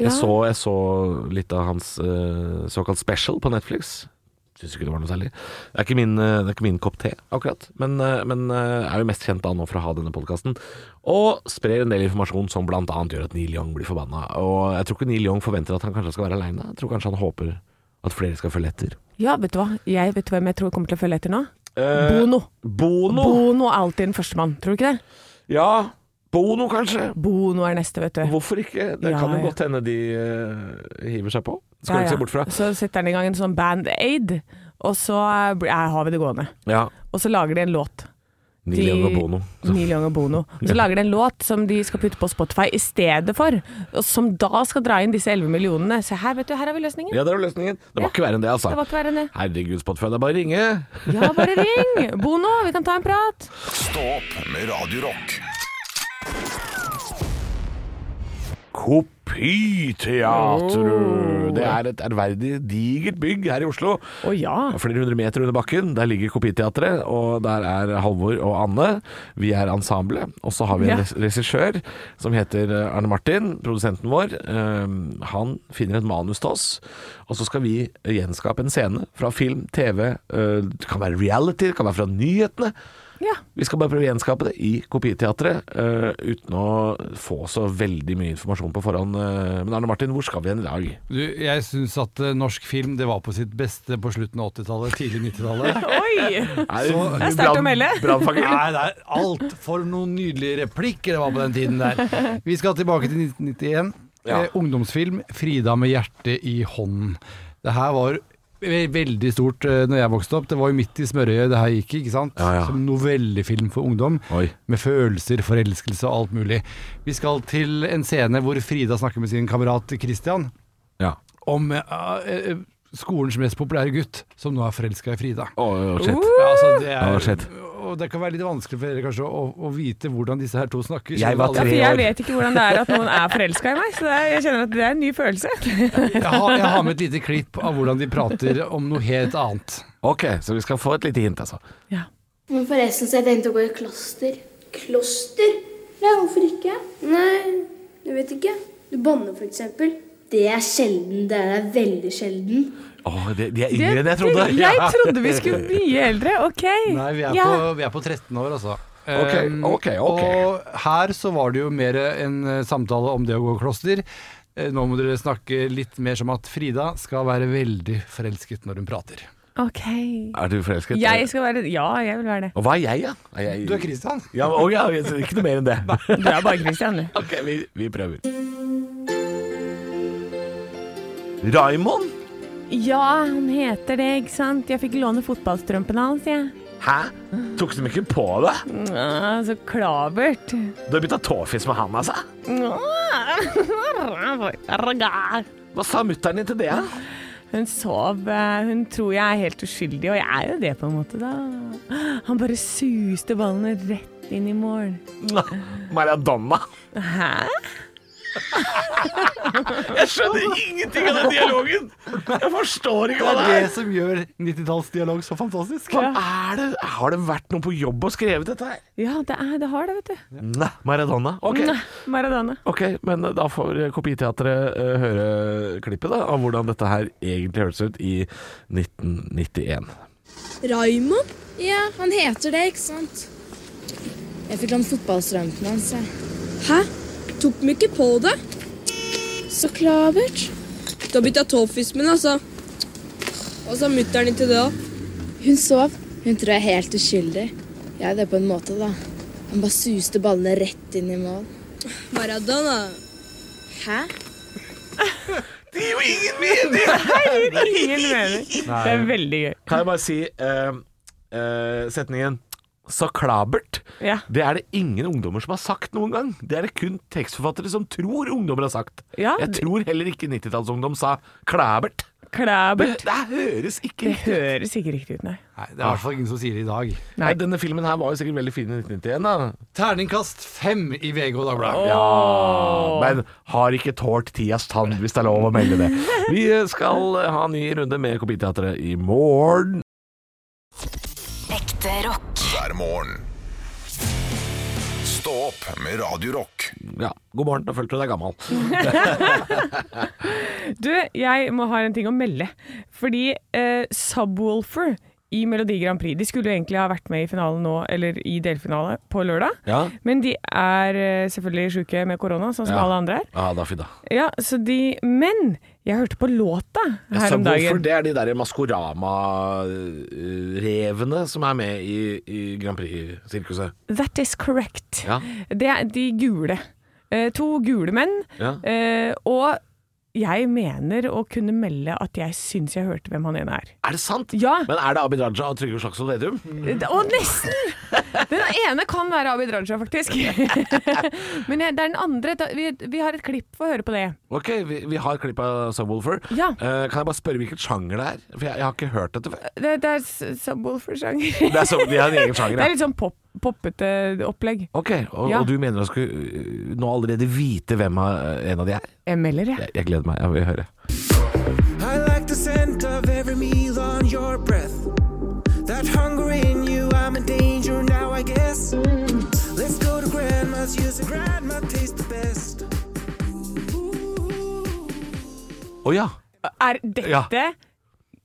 jeg,
Ja.
så, jeg så litt av hans eh, såkalt special på Netflix. Syns ikke det var noe særlig. Det er ikke min, eh, det er ikke min kopp te, akkurat. Men, eh, men eh, er jo mest kjent da nå for å ha denne podkasten. Og sprer en del informasjon som bl.a. gjør at Neil Young blir forbanna. Og jeg tror ikke Neil Young forventer at han kanskje skal være aleine. Jeg tror kanskje han håper at flere skal følge etter.
Ja, vet du hva? Jeg vet hvem jeg tror kommer til å følge etter nå.
Eh,
Bono.
Bono!
Bono er alltid den førstemann, tror du ikke det?
ja, Bono kanskje.
Bono er neste, vet du.
Hvorfor ikke? Det
Ja,
kan jo
ja.
godt hende de eh, hiver seg på. Skal
Ja,
vi ikke
ja.
se bort fra.
Så setter han i gang en sånn band-aid, og så eh, blir- eh, har vi det gående.
Ja,
Og så lager de en låt.
Neil Young og
De-
Bono.
Neil Young og Bono. Så lager de en låt som de skal putte på Spotify i stedet for, og som da skal dra inn disse 11 millionene. Se her, vet du, her har vi løsningen.
Ja, det var løsningen. Det var ikke verre enn det, altså.
Det var ikke verre enn det.
Herregud, Spotify, det er bare å ringe.
Ja, bare ring! Bono, vi kan ta en prat.
Stå opp med Radio Rock.
Kopiteatret. Det er et ærverdig, digert bygg her i Oslo.
Å ja.
Flere hundre meter under bakken, der ligger Kopiteatret, og der er Halvor og Anne. Vi er ensemble, og så har vi en
Ja.
res- regissør som heter eh, Arne Martin, produsenten vår. Eh, Han finner et manus til oss, og så skal vi eh, gjenskape en scene fra film, TV, eh, det kan være reality, det kan være fra nyhetene.
ja.
Vi skal bare prøve å gjenskape det i Kopiteatret, eh, uten å få så veldig mye informasjon på forhånd. eh, men Arne Martin, hvor skal vi hen i dag?
Du, jeg syns at eh, norsk film det var på sitt beste på slutten av 80-tallet, tidlig 90-tallet.
Oi!
det
er sterkt å melde.
Nei, det er alt for noen nydelige replikker det var på den tiden der. Vi skal tilbake til 1991.
Ja.
Eh, ungdomsfilm 'Frida med hjertet i hånden'. Det her var ve- veldig stort eh, når jeg vokste opp. Det var jo midt i smørøyet det her gikk, ikke sant?
Ja, ja.
Som novellefilm for ungdom.
Oi.
Med følelser, forelskelse og alt mulig. Vi skal til en scene hvor Frida snakker med sin kamerat Christian.
Ja.
om eh, eh, skolens mest populære gutt, som nå er forelska i Frida.
Å, shit.
Uh.
Ja, altså, det,
Ja,
er,
shit.
og det kan være litt vanskelig for dere kanskje å, å vite hvordan disse her to snakker.
Jeg var Tre
Ja, for
Selv om alle-
år.
jeg vet ikke hvordan det er at noen er forelska i meg, så det er, jeg kjenner at det er en ny følelse.
Jeg har, jeg har med et lite klipp av hvordan de prater om noe helt annet.
Ok, så vi skal få et lite hint, altså.
Ja.
Men forresten så jeg tenkte å gå i kloster. Kloster? Nei, hvorfor ikke? Nei, jeg vet ikke. Du banner for eksempel. Det er sjelden, det er veldig sjelden.
Å, de, de er yngre enn jeg trodde.
Jeg trodde vi skulle mye eldre, OK.
Nei, vi er,
ja.
på, vi er på 13 år, altså.
Ok,
Um,
ok, ok.
Og her så var det jo mer en eh, samtale om det å gå i kloster. Eh, Nå må dere snakke litt mer som at Frida skal være veldig forelsket når hun prater.
OK.
Er du forelsket?
Jeg skal være Ja, jeg vil være det.
Og hva er jeg, da? Er jeg...
Du er Christian.
Ja, men- å, ja, så ikke noe mer enn det.
Du er bare Christian, du.
Ok, vi, vi prøver. Raimond?
Ja, han heter det, ikke sant? Jeg fikk låne fotballstrømpen hans, jeg.
Hæ? Tok de ikke på deg?
Nå, Så klavert.
Du har bytta tåfis med han, altså?
Nå.
Hva sa mutter'n din til det? da?
Hun sov. eh, Hun tror jeg er helt uskyldig, og jeg er jo det, på en måte, da. Han bare suste ballene rett inn i mål.
Maradona.
Hæ?
Jeg skjønner ingenting av den dialogen! Jeg forstår ikke
Det
hva
er
det
det
er.
som gjør 90-tallsdialog så fantastisk.
Hva er det? Har det vært noen på jobb og skrevet dette her?
Ja, det, er, det har det, vet du.
Nei. Maradona. Ok,
Nei, Maradona.
ok, men da får Kopiteatret eh, høre klippet da, av hvordan dette her egentlig høres ut i 1991.
Raimond? Ja, han heter det, ikke sant? Jeg fikk lånt fotballstrømpen hans, jeg. Hæ? Tok de ikke på det? Så klavert. Du har bytta tåfis med den, altså. Hva sa mutter'n til det, da? Hun sov. Hun tror jeg er helt uskyldig. Ja, det er på en måte, da. Han bare suste ballene rett inn i mål. Maradona. Hæ?
Ingen mening. Det er veldig gøy.
Kan jeg bare si eh, eh, setningen Så klabert.
Ja.
Det er det ingen ungdommer som har sagt noen gang. Det er det kun tekstforfattere som tror ungdommer har sagt.
Ja,
jeg
det-
tror heller ikke 90-tallsungdom sa klæbert. Det,
Klæbert.
det høres ikke
Det
riktig ut.
høres ikke riktig ut, nei.
Nei, det er i hvert fall ingen som sier det i dag.
Nei.
Nei, Denne filmen her var jo sikkert veldig fin i 1991, da.
Terningkast fem i VG og Dagbladet.
Ja, men har ikke tålt tidas tann, hvis det er lov å melde det. Vi skal eh, ha en ny runde med Kopiteatret i morgen.
Ekte rock.
hver morgen. Stå opp med Radio Rock.
Ja, god morgen, da følte du deg gammel.
Du, jeg må ha en ting å melde. Fordi eh, Subwoolfer i Melodi Grand Prix De skulle jo egentlig ha vært med i finalen nå, eller i delfinale på lørdag.
Ja.
Men de er eh, selvfølgelig sjuke med korona, sånn som
Ja.
alle andre er.
Ja, da, fy da.
Ja, så de Men jeg hørte på låta
Ja,
her
Subwoolfer,
om dagen.
Altså, det er de der Maskorama-revene som er med i, i Grand Prix-sirkuset.
That is correct.
Ja.
Det er de gule. Eh, to gule menn.
Ja.
Eh, og jeg mener å kunne melde at jeg syns jeg hørte hvem han ene er.
Er det sant?
Ja.
Men er det Abid Raja og Trygve Slagsvold Vedum?
Det- Å, nesten! Den ene kan være Abid Raja, faktisk. Men jeg- det er den andre. Da- Vi, vi har et klipp, få høre på det.
Ok, vi, vi har klipp av Subwoolfer.
Ja.
Eh, kan jeg bare spørre hvilken sjanger det er? For jeg, jeg har ikke hørt dette før.
Det, det er s- Subwoolfer-sjanger.
Det er, så, de har en egen
Det
sjanger,
er
ja.
litt sånn pop, poppete opplegg.
Ok, og,
Ja.
og du mener jeg skulle eh, nå allerede vite hvem av, eh, en av de er?
Jeg melder, jeg.
Jeg, jeg gleder meg, jeg vil høre.
I like the scent of every meal on your breath. That hunger in you, I'm in danger now, I guess. Let's go to grandma's, use a grandma tastes the best.
Å ja.
Er dette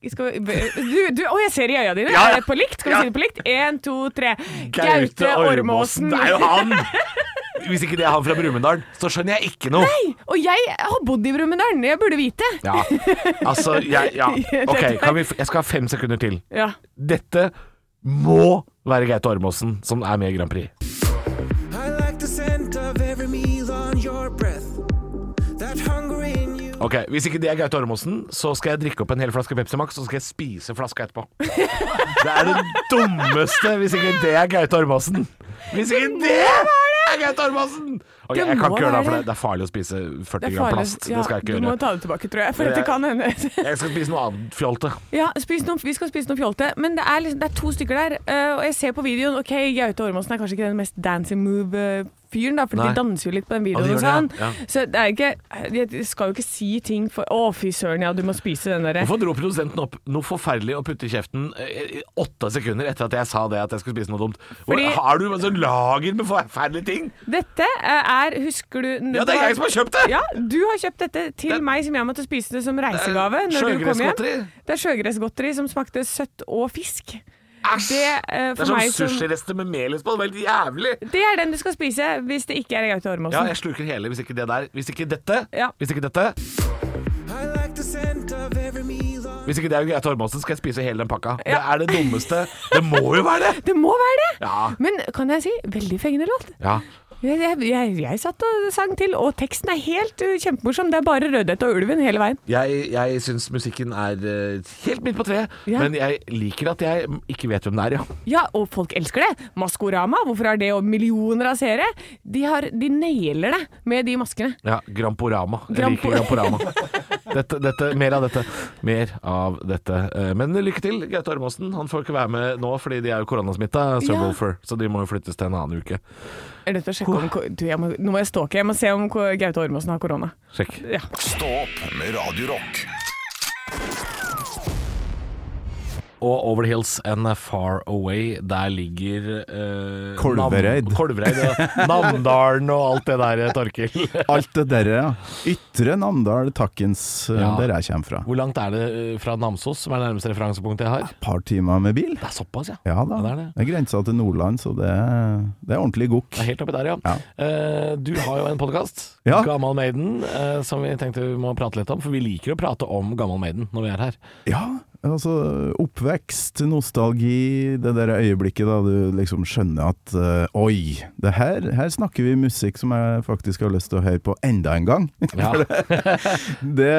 skal vi, du, du, å, jeg ser i øya dine.
Ja, ja.
Er det på likt? Skal vi
Ja.
si det på likt? Én, to, tre. Gaute Ormåsen.
Det er jo han! Hvis ikke det er han fra Brumunddal, så skjønner jeg ikke noe.
Nei, og jeg har bodd i Brumunddal. Jeg burde vite.
Ja, altså jeg, ja. Ok, kan vi, jeg skal ha fem sekunder til.
Ja.
Dette må være Gaute Ormåsen som er med i Grand Prix.
I like the scent of every meal on your breath. That hunger in you.
Ok, Hvis ikke det er Gaute Ormåsen, så skal jeg drikke opp en hel flaske Pepsi Max, og så skal jeg spise flaska etterpå. Det er det dummeste hvis ikke det er Gaute Ormåsen. Hvis ikke det er Gaute Ormåsen! Ok,
Det
Jeg kan
må
ikke gjøre det, for
være.
det, det er farlig å spise 40
er
gram
farlig.
plast. Det skal jeg ikke
Du må
gjøre.
ta det tilbake, tror jeg. For
Det-
dette kan hende.
Jeg skal spise noe annet fjolte.
Ja, spis noe, vi skal spise noe fjolte, men det er, liksom, det er to stykker der. eh, og jeg ser på videoen Ok, Gaute Ormåsen er kanskje ikke den mest dancing move-fyren, da, for
Nei.
de danser jo litt på den
Ja, de
videoen. og
gjør
sånn.
det, ja. Ja.
Så det er ikke Jeg skal jo ikke si ting for Å, fy søren, ja, du må spise den derre.
Hvorfor dro produsenten opp noe forferdelig å putte i kjeften eh, i åtte sekunder etter at jeg sa det at jeg skulle spise noe dumt? Hvor
Fordi-
har du en sånn lager med forferdelige ting?
Dette eh, er, husker du
Ja, det er jeg som har kjøpt det!
Ja, du har kjøpt dette til
Det-
meg som jeg måtte spise det som reisegave
Eh,
når du kom hjem.
sjøgressgodteri?
Det er sjøgressgodteri som smakte søtt og fisk. Det, eh,
Det
for
er sånn
meg som-
sushirester med melis på. Det er helt jævlig!
Det er den du skal spise hvis det ikke er Gaute
Ja,
Ormåsen.
jeg sluker hele hvis ikke det der. Hvis ikke dette.
Ja.
Hvis ikke dette.
I like the scent of every meal on
Hvis ikke det er Geir Tormonsen, skal jeg spise hele den pakka. Det
Ja.
er det dummeste. Det må jo være det!
Det må være det!
Ja.
Men kan jeg si veldig fengende låt?
Ja.
Jeg, jeg, jeg, jeg satt og sang til, og teksten er helt uh, kjempemorsom. Det er bare Rødhette og ulven hele veien.
Jeg, jeg syns musikken er eh, helt midt på treet,
Ja.
men jeg liker at jeg ikke vet hvem det er, ja.
Ja, og folk elsker det. Maskorama, hvorfor har det og millioner av seere? De, har, de nailer det med de maskene.
Ja, Gramporama. Jeg
Grampo-
liker Gramporama. Dette, dette, mer av dette. Mer av dette. Eh, Men lykke til, Gaute Ormåsen. Han får ikke være med nå fordi de er jo koronasmitta, Sir
Ja.
Wolfer, så de må jo flyttes til en annen uke.
Jeg er nødt til å sjekke om ko- du, jeg må, Nå må jeg stalke. Jeg må se om ko- Gaute Ormåsen har korona.
Sjekk.
Ja.
Stå opp med Radio Rock.
Og Over the Hills and Far Away, der ligger eh,
Kolvereid.
Nam- Kolvereid, ja. Namdalen og alt det der, eh, Torkil.
Alt det der, ja. Ytre Namdal, Takkens, eh,
Ja.
der jeg kommer fra.
Hvor langt er det eh, fra Namsos, som er nærmeste referansepunkt jeg har?
Et par timer med bil.
Det er såpass, ja.
Ja
Ja,
da.
det er det.
Det er grensa til Nordland, så det er, det er ordentlig gokk.
Det er helt oppi der, ja.
Ja.
Eh, du har jo en podkast,
Ja.
Gammal Maiden, eh, som vi tenkte vi må prate litt om. For vi liker å prate om Gammal Maiden når vi er her.
Ja,
Altså, oppvekst, nostalgi, det der øyeblikket da du liksom skjønner at eh, oi, det her, her snakker vi musikk som jeg faktisk har lyst til å høre på enda en gang. For det,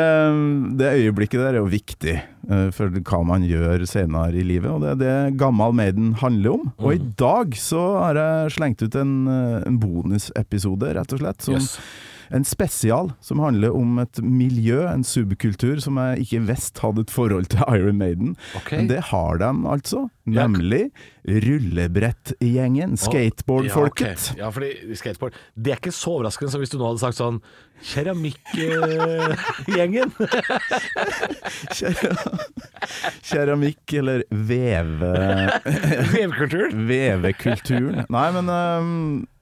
det øyeblikket der er jo viktig eh, for hva man gjør senere i livet, og det er det Gammal Maiden handler om. Og i
Mm.
dag så har jeg slengt ut en, eh, en bonusepisode, rett og slett, som
Yes.
en spesial som handler om et miljø, en subkultur, som jeg ikke visst hadde et forhold til Iron Maiden.
Ok.
Men det har de altså, nemlig rullebrettgjengen, skateboardfolket.
Ja, ok. ja, fordi skateboard Det er ikke så overraskende som hvis du nå hadde sagt sånn Keramikkgjengen.
Keramikk eller veve...
Vevkulturen.
Vevekulturen. Nei, men øhm,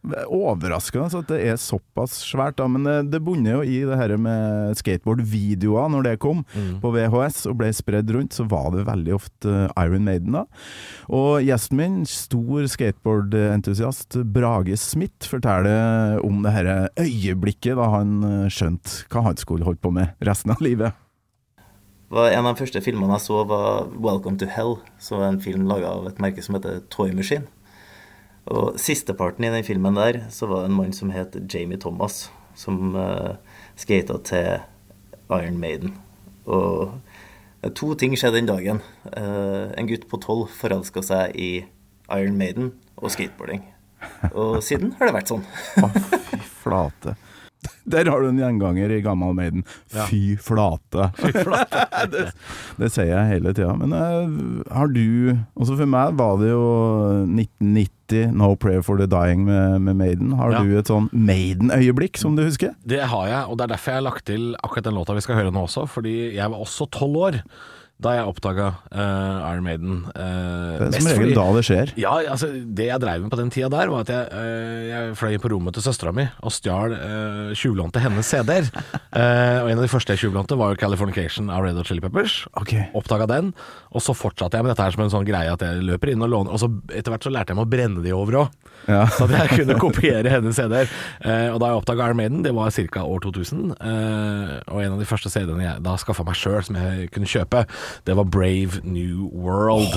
det er overraskende altså, at det er såpass svært. Da. Men eh, det, det bunner jo i det her med skateboardvideoer når det kom på VHS og ble spredd rundt, så var det veldig ofte eh, Iron Maiden da. Og gjesten min, stor skateboardentusiast Brage Smith, forteller om det her øyeblikket da han øh, skjønte hva han skulle holde på med resten av livet.
var en av de første filmene jeg så, var 'Welcome to Hell', som var en film laga av et merke som heter Toy Machine. Og sisteparten i den filmen der, så var det en mann som het Jamie Thomas, som uh, skata til Iron Maiden. Og eh, to ting skjedde den dagen. Eh, en gutt på tolv forelska seg i Iron Maiden og skateboarding. Og siden har det vært sånn.
flate. Der har du en gjenganger i Gammal Maiden.
Ja.
Fy flate. det, det sier jeg hele tida. Men eh, har du Altså For meg var det jo 1990, 'No Prayer for the Dying' med, med Maiden. Har
Ja.
du et sånn Maiden-øyeblikk som du husker?
Det har jeg, og det er derfor jeg har lagt til akkurat den låta vi skal høre nå også, fordi jeg var også tolv år da jeg oppdaga Iron Maiden. eh,
Det er
mest
som regel
fordi-
da det skjer.
Ja, altså Det jeg dreiv med på den tida der, var at jeg, eh, jeg fløy på rommet til søstera mi og stjal eh, tjuvlånte hennes CD-er. Eh, og en av de første jeg tjuvlånte, var jo 'Californication' av Red Hot Chili Peppers.
Okay.
Oppdaga den, og så fortsatte jeg med dette her som en sånn greie at jeg løper inn og låner. Og så etter hvert så lærte jeg meg å brenne de over òg.
Ja.
Så at jeg kunne kopiere hennes CD-er. Eh, og da jeg oppdaga Iron Maiden, det var ca. år 2000, eh, og en av de første CD-ene jeg da skaffa meg sjøl som jeg kunne kjøpe, det var Brave New World.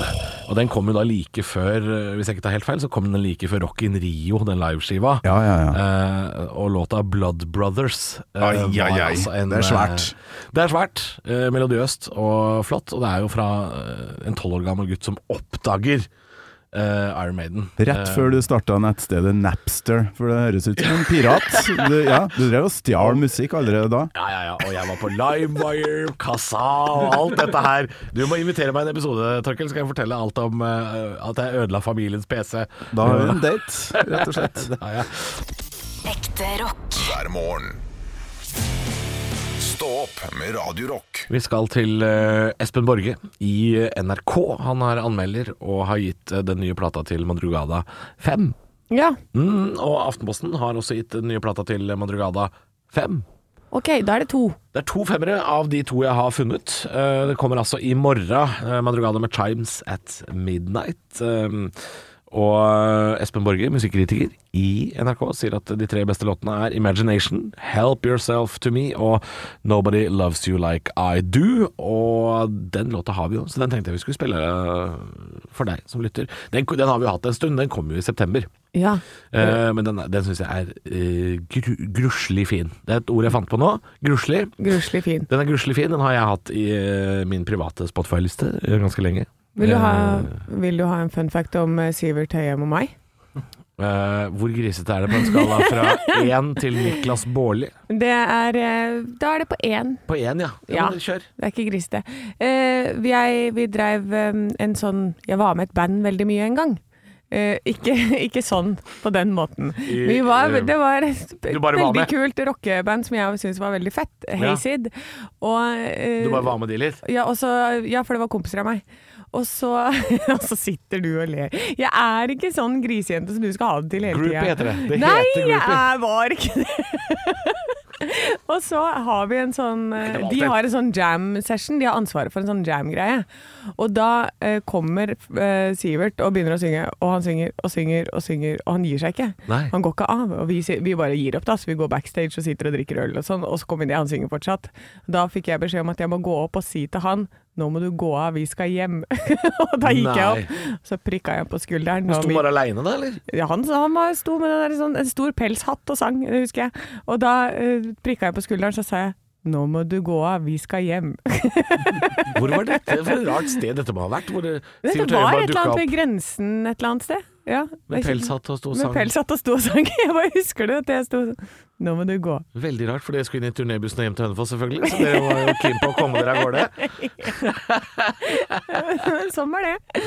Og den kom jo da like før, eh, hvis jeg ikke tar helt feil, så kom den like før Rock in Rio, den liveskiva.
Ja, ja, ja.
Eh, og låta Blood Brothers eh,
Ai,
var
ai, ai. Det er svært.
eh, Det er svært, eh, melodiøst og flott, og det er jo fra eh, en tolv år gammel gutt som oppdager eh, Iron Maiden.
Rett før du starta nettstedet Napster, for det høres ut som en pirat. Du, ja, du drev og stjal musikk allerede da.
Ja, ja, ja. Og jeg var på LimeWire, Kassa og alt dette her. Du må invitere meg i en episode, Torkel, så skal jeg fortelle alt om eh, at jeg ødela familiens PC.
Da har vi en date, rett og slett.
det har jeg.
Ekte rock.
hver morgen. Stå opp med Radio Rock.
Vi skal til eh, Espen Borge i eh, NRK. Han er anmelder og har gitt eh, den nye plata til Madrugada 5.
Ja,
Mm, og Aftenposten har også gitt den nye plata til Madrugada 5.
ok, da er det to.
Det er to femmere av de to jeg har funnet. Eh, Det kommer altså i morgen, eh, Madrugada med Chimes at Midnight. Eh, Og eh, Espen Borge, musikkritiker i NRK, sier at de tre beste låtene er Imagination, Help Yourself To Me og Nobody Loves You Like I Do. Og den låta har vi jo, så den tenkte jeg vi skulle spille eh, for deg som lytter. Den, den har vi jo hatt en stund, den kom jo i september.
Ja.
Eh, men den, den syns jeg er eh, gru, gruslig fin. Det er et ord jeg fant på nå. Gruslig.
Gruslig fin.
Den er gruslig fin. Den har jeg hatt i eh, min private Spotify-liste eh, ganske lenge.
Vil du, ha,
Eh,
vil du ha en fun fact om eh, Sivert Høyem og meg?
eh, hvor grisete er det på en skala fra én til Niklas Baarli?
Det er, eh, da er det på én.
På én, ja.
Ja.
men Kjør.
Det er ikke grisete. Eh, vi- jeg, vi dreiv eh, en sånn Jeg var med et band veldig mye en gang. Eh, ikke, ikke sånn, på den måten. Vi var, det var et
eh, Du bare var
veldig
med.
kult rockeband som jeg syntes var veldig fett. Hayseed. Og, eh,
Du bare var med de litt?
Ja, og så, ja, for det var kompiser av meg. Og så, og så sitter du og ler. Jeg er ikke sånn grisejente som du skal ha det til hele tida.
Groupie heter det. Det
Nei,
heter groupie.
jeg er- var ikke det. og så har vi en sånn
Det er
eh,
ikke
De
alltid.
har en sånn jam-session. De har ansvaret for en sånn jam-greie. Og da eh, kommer eh, Sivert og begynner å synge, og han synger og synger og synger, og han gir seg ikke.
Nei.
Han går ikke av. Og vi, sier- vi bare gir opp, da. Så vi går backstage og sitter og drikker øl og sånn, og så kommer de, han synger fortsatt. Da fikk jeg beskjed om at jeg må gå opp og si til han 'Nå må du gå av, vi skal hjem'. og da gikk jeg opp, så prikka jeg på skulderen.
Han
og
sto
vi-
bare aleine da, eller?
ja, han, han var, sto med en, sånn, en stor pelshatt og sang, det husker jeg. Og da uh, prikka jeg på skulderen, så sa jeg 'Nå må du gå av, vi skal hjem'.
Hvor var dette for et rart sted dette må ha vært? Hvor det,
Dette
Sivert Høie
var
bare
et eller
dukket
annet
opp.
ved grensen et eller annet sted. Ja,
Med
det er ikke-
pelshatt og sto og
Med
sang.
pelshatt og sto og sang. Jeg bare husker det, at jeg sto sånn 'Nå må du gå'.
Veldig rart, for dere skulle inn i turnébussen og hjem til Hønefoss, selvfølgelig. Så dere var jo keen på å komme dere av gårde.
sånn var det.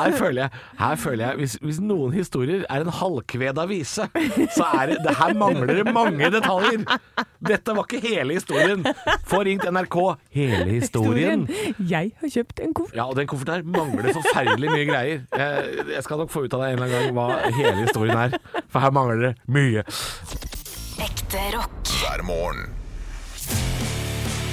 Her føler jeg, her føler jeg hvis, hvis noen historier er en halvkved avise, så er det, det Her mangler det mange detaljer! Dette var ikke hele historien. Få ringt NRK hele historien.
Jeg har kjøpt en koffert.
Ja, og den kofferten her mangler forferdelig mye greier. Jeg, jeg skal nok få ut av deg en eller annen gang hva hele historien er, for her mangler det mye.
Ekte rock.
hver morgen.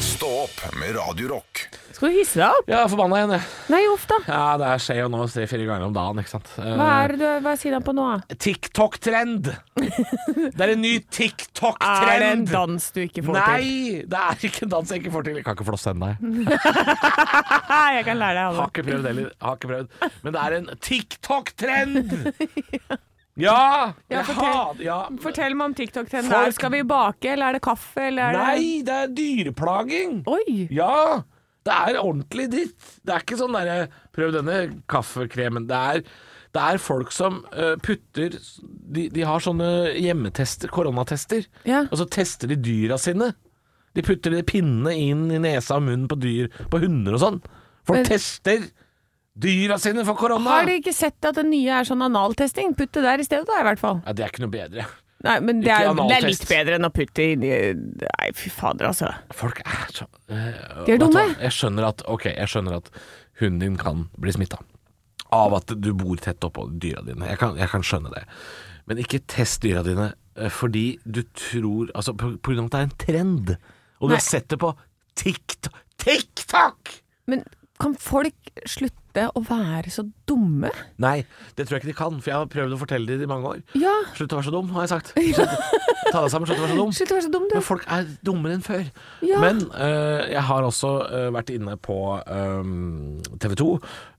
Stå opp med Radio Rock.
Skal du hisse deg opp?
Ja, forbanna igjen, jeg.
Nei, uff da.
Ja, det er skje og nå tre-fire ganger om dagen, ikke sant. Eh,
Hva er det du hva sier han på nå? da?
TikTok-trend! Det er en ny TikTok-trend!
Er det en dans du ikke får til?
Nei, det er ikke en dans jeg ikke får til. Jeg kan ikke flosse ennå, jeg.
Nei, jeg kan lære
Har
deg alle.
ikke prøvd heller. Har ikke prøvd. Men det er en TikTok-trend! Ja!
Ja,
Jeg
fortell.
hat- ja.
Fortell meg om TikTok-trenden.
Folk-
Er- Skal vi bake, eller er det kaffe, eller er det
Nei, det er dyreplaging!
Oi!
Ja! Det er ordentlig dritt. Det er ikke sånn derre Prøv denne kaffekremen. Det er, det er folk som eh, putter de, de har sånne hjemmetester, koronatester,
Ja.
og så tester de dyra sine. De putter de pinnene inn i nesa og munnen på dyr, på hunder og sånn. Folk
Men-
tester dyra sine for korona!
Har dere ikke sett at det nye er sånn analtesting? Putt det der i stedet, da, i hvert fall.
Ja, det er ikke noe bedre.
Nei, men det
Ikke
er, det er
analtest.
litt bedre enn å putte inn i Nei, fy fader, altså.
Folk er så eh,
De er
vet du
dumme.
hva? Jeg skjønner at Ok, jeg skjønner at hunden din kan bli smitta av at du bor tett oppå dyra dine. Jeg kan, jeg kan skjønne det. Men ikke test dyra dine eh, fordi du tror Altså på på grunn av at det er en trend, og du
Nei.
har sett det på TikTok TikTok!
Men kan folk slutte å være så dumme?
Nei, det tror jeg ikke de kan, for jeg har prøvd å fortelle det i mange år.
Ja,
Slutt å være så dum, har jeg sagt. Slutt, ta deg sammen, slutt å være så dum.
slutt å være så dum, du.
Men folk er dummere enn før.
Ja.
Men eh, jeg har også eh, vært inne på ehm, TV 2,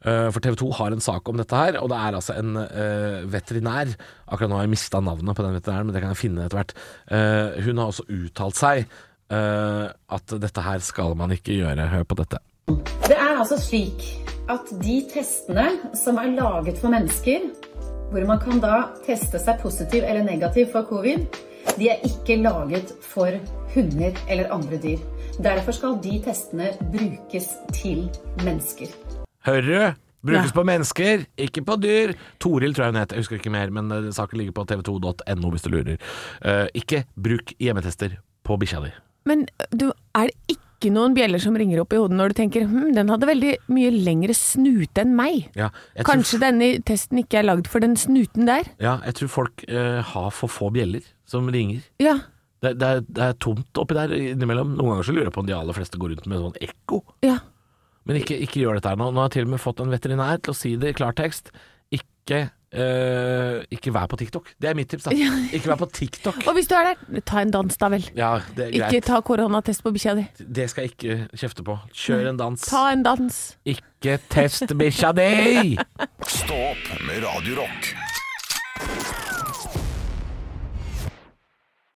Eh, for TV 2 har en sak om dette her. Og det er altså en eh, veterinær Akkurat nå har jeg mista navnet på den veterinæren, men det kan jeg finne etter hvert. Eh, hun har også uttalt seg eh, at dette her skal man ikke gjøre. Hør på dette.
Det er altså slik at de testene som er laget for mennesker, hvor man kan da teste seg positiv eller negativ for covid, de er ikke laget for hunder eller andre dyr. Derfor skal de testene brukes til mennesker.
Hører du? Brukes på mennesker, ikke på dyr. Toril tror jeg hun het, jeg husker ikke mer, men eh, saken ligger på tv2.no hvis du lurer. Eh, ikke bruk hjemmetester på bikkja di.
Men du, er det ikke noen bjeller som ringer opp i hodet når du tenker hm, den hadde veldig mye lengre snute enn meg?
Ja, jeg tror-
Kanskje denne testen ikke er lagd for den snuten der?
Ja, jeg tror folk eh, har for få bjeller som ringer.
Ja,
Det, det, er, det er tomt oppi der innimellom. Noen ganger så lurer jeg på om de aller fleste går rundt med sånn ekko.
ja.
Men ikke, ikke gjør dette her nå. Nå har jeg til og med fått en veterinær til å si det i klartekst. Ikke, eh, ikke vær på TikTok. Det er mitt tips, da. Ikke vær på TikTok.
Og hvis du er der, ta en dans da vel.
Ja, det er
Ikke
greit.
ta koronatest på bikkja di.
Det skal jeg ikke kjefte på. Kjør en dans.
Ta en dans.
Ikke test bikkja di!
Stå opp med Radio Rock.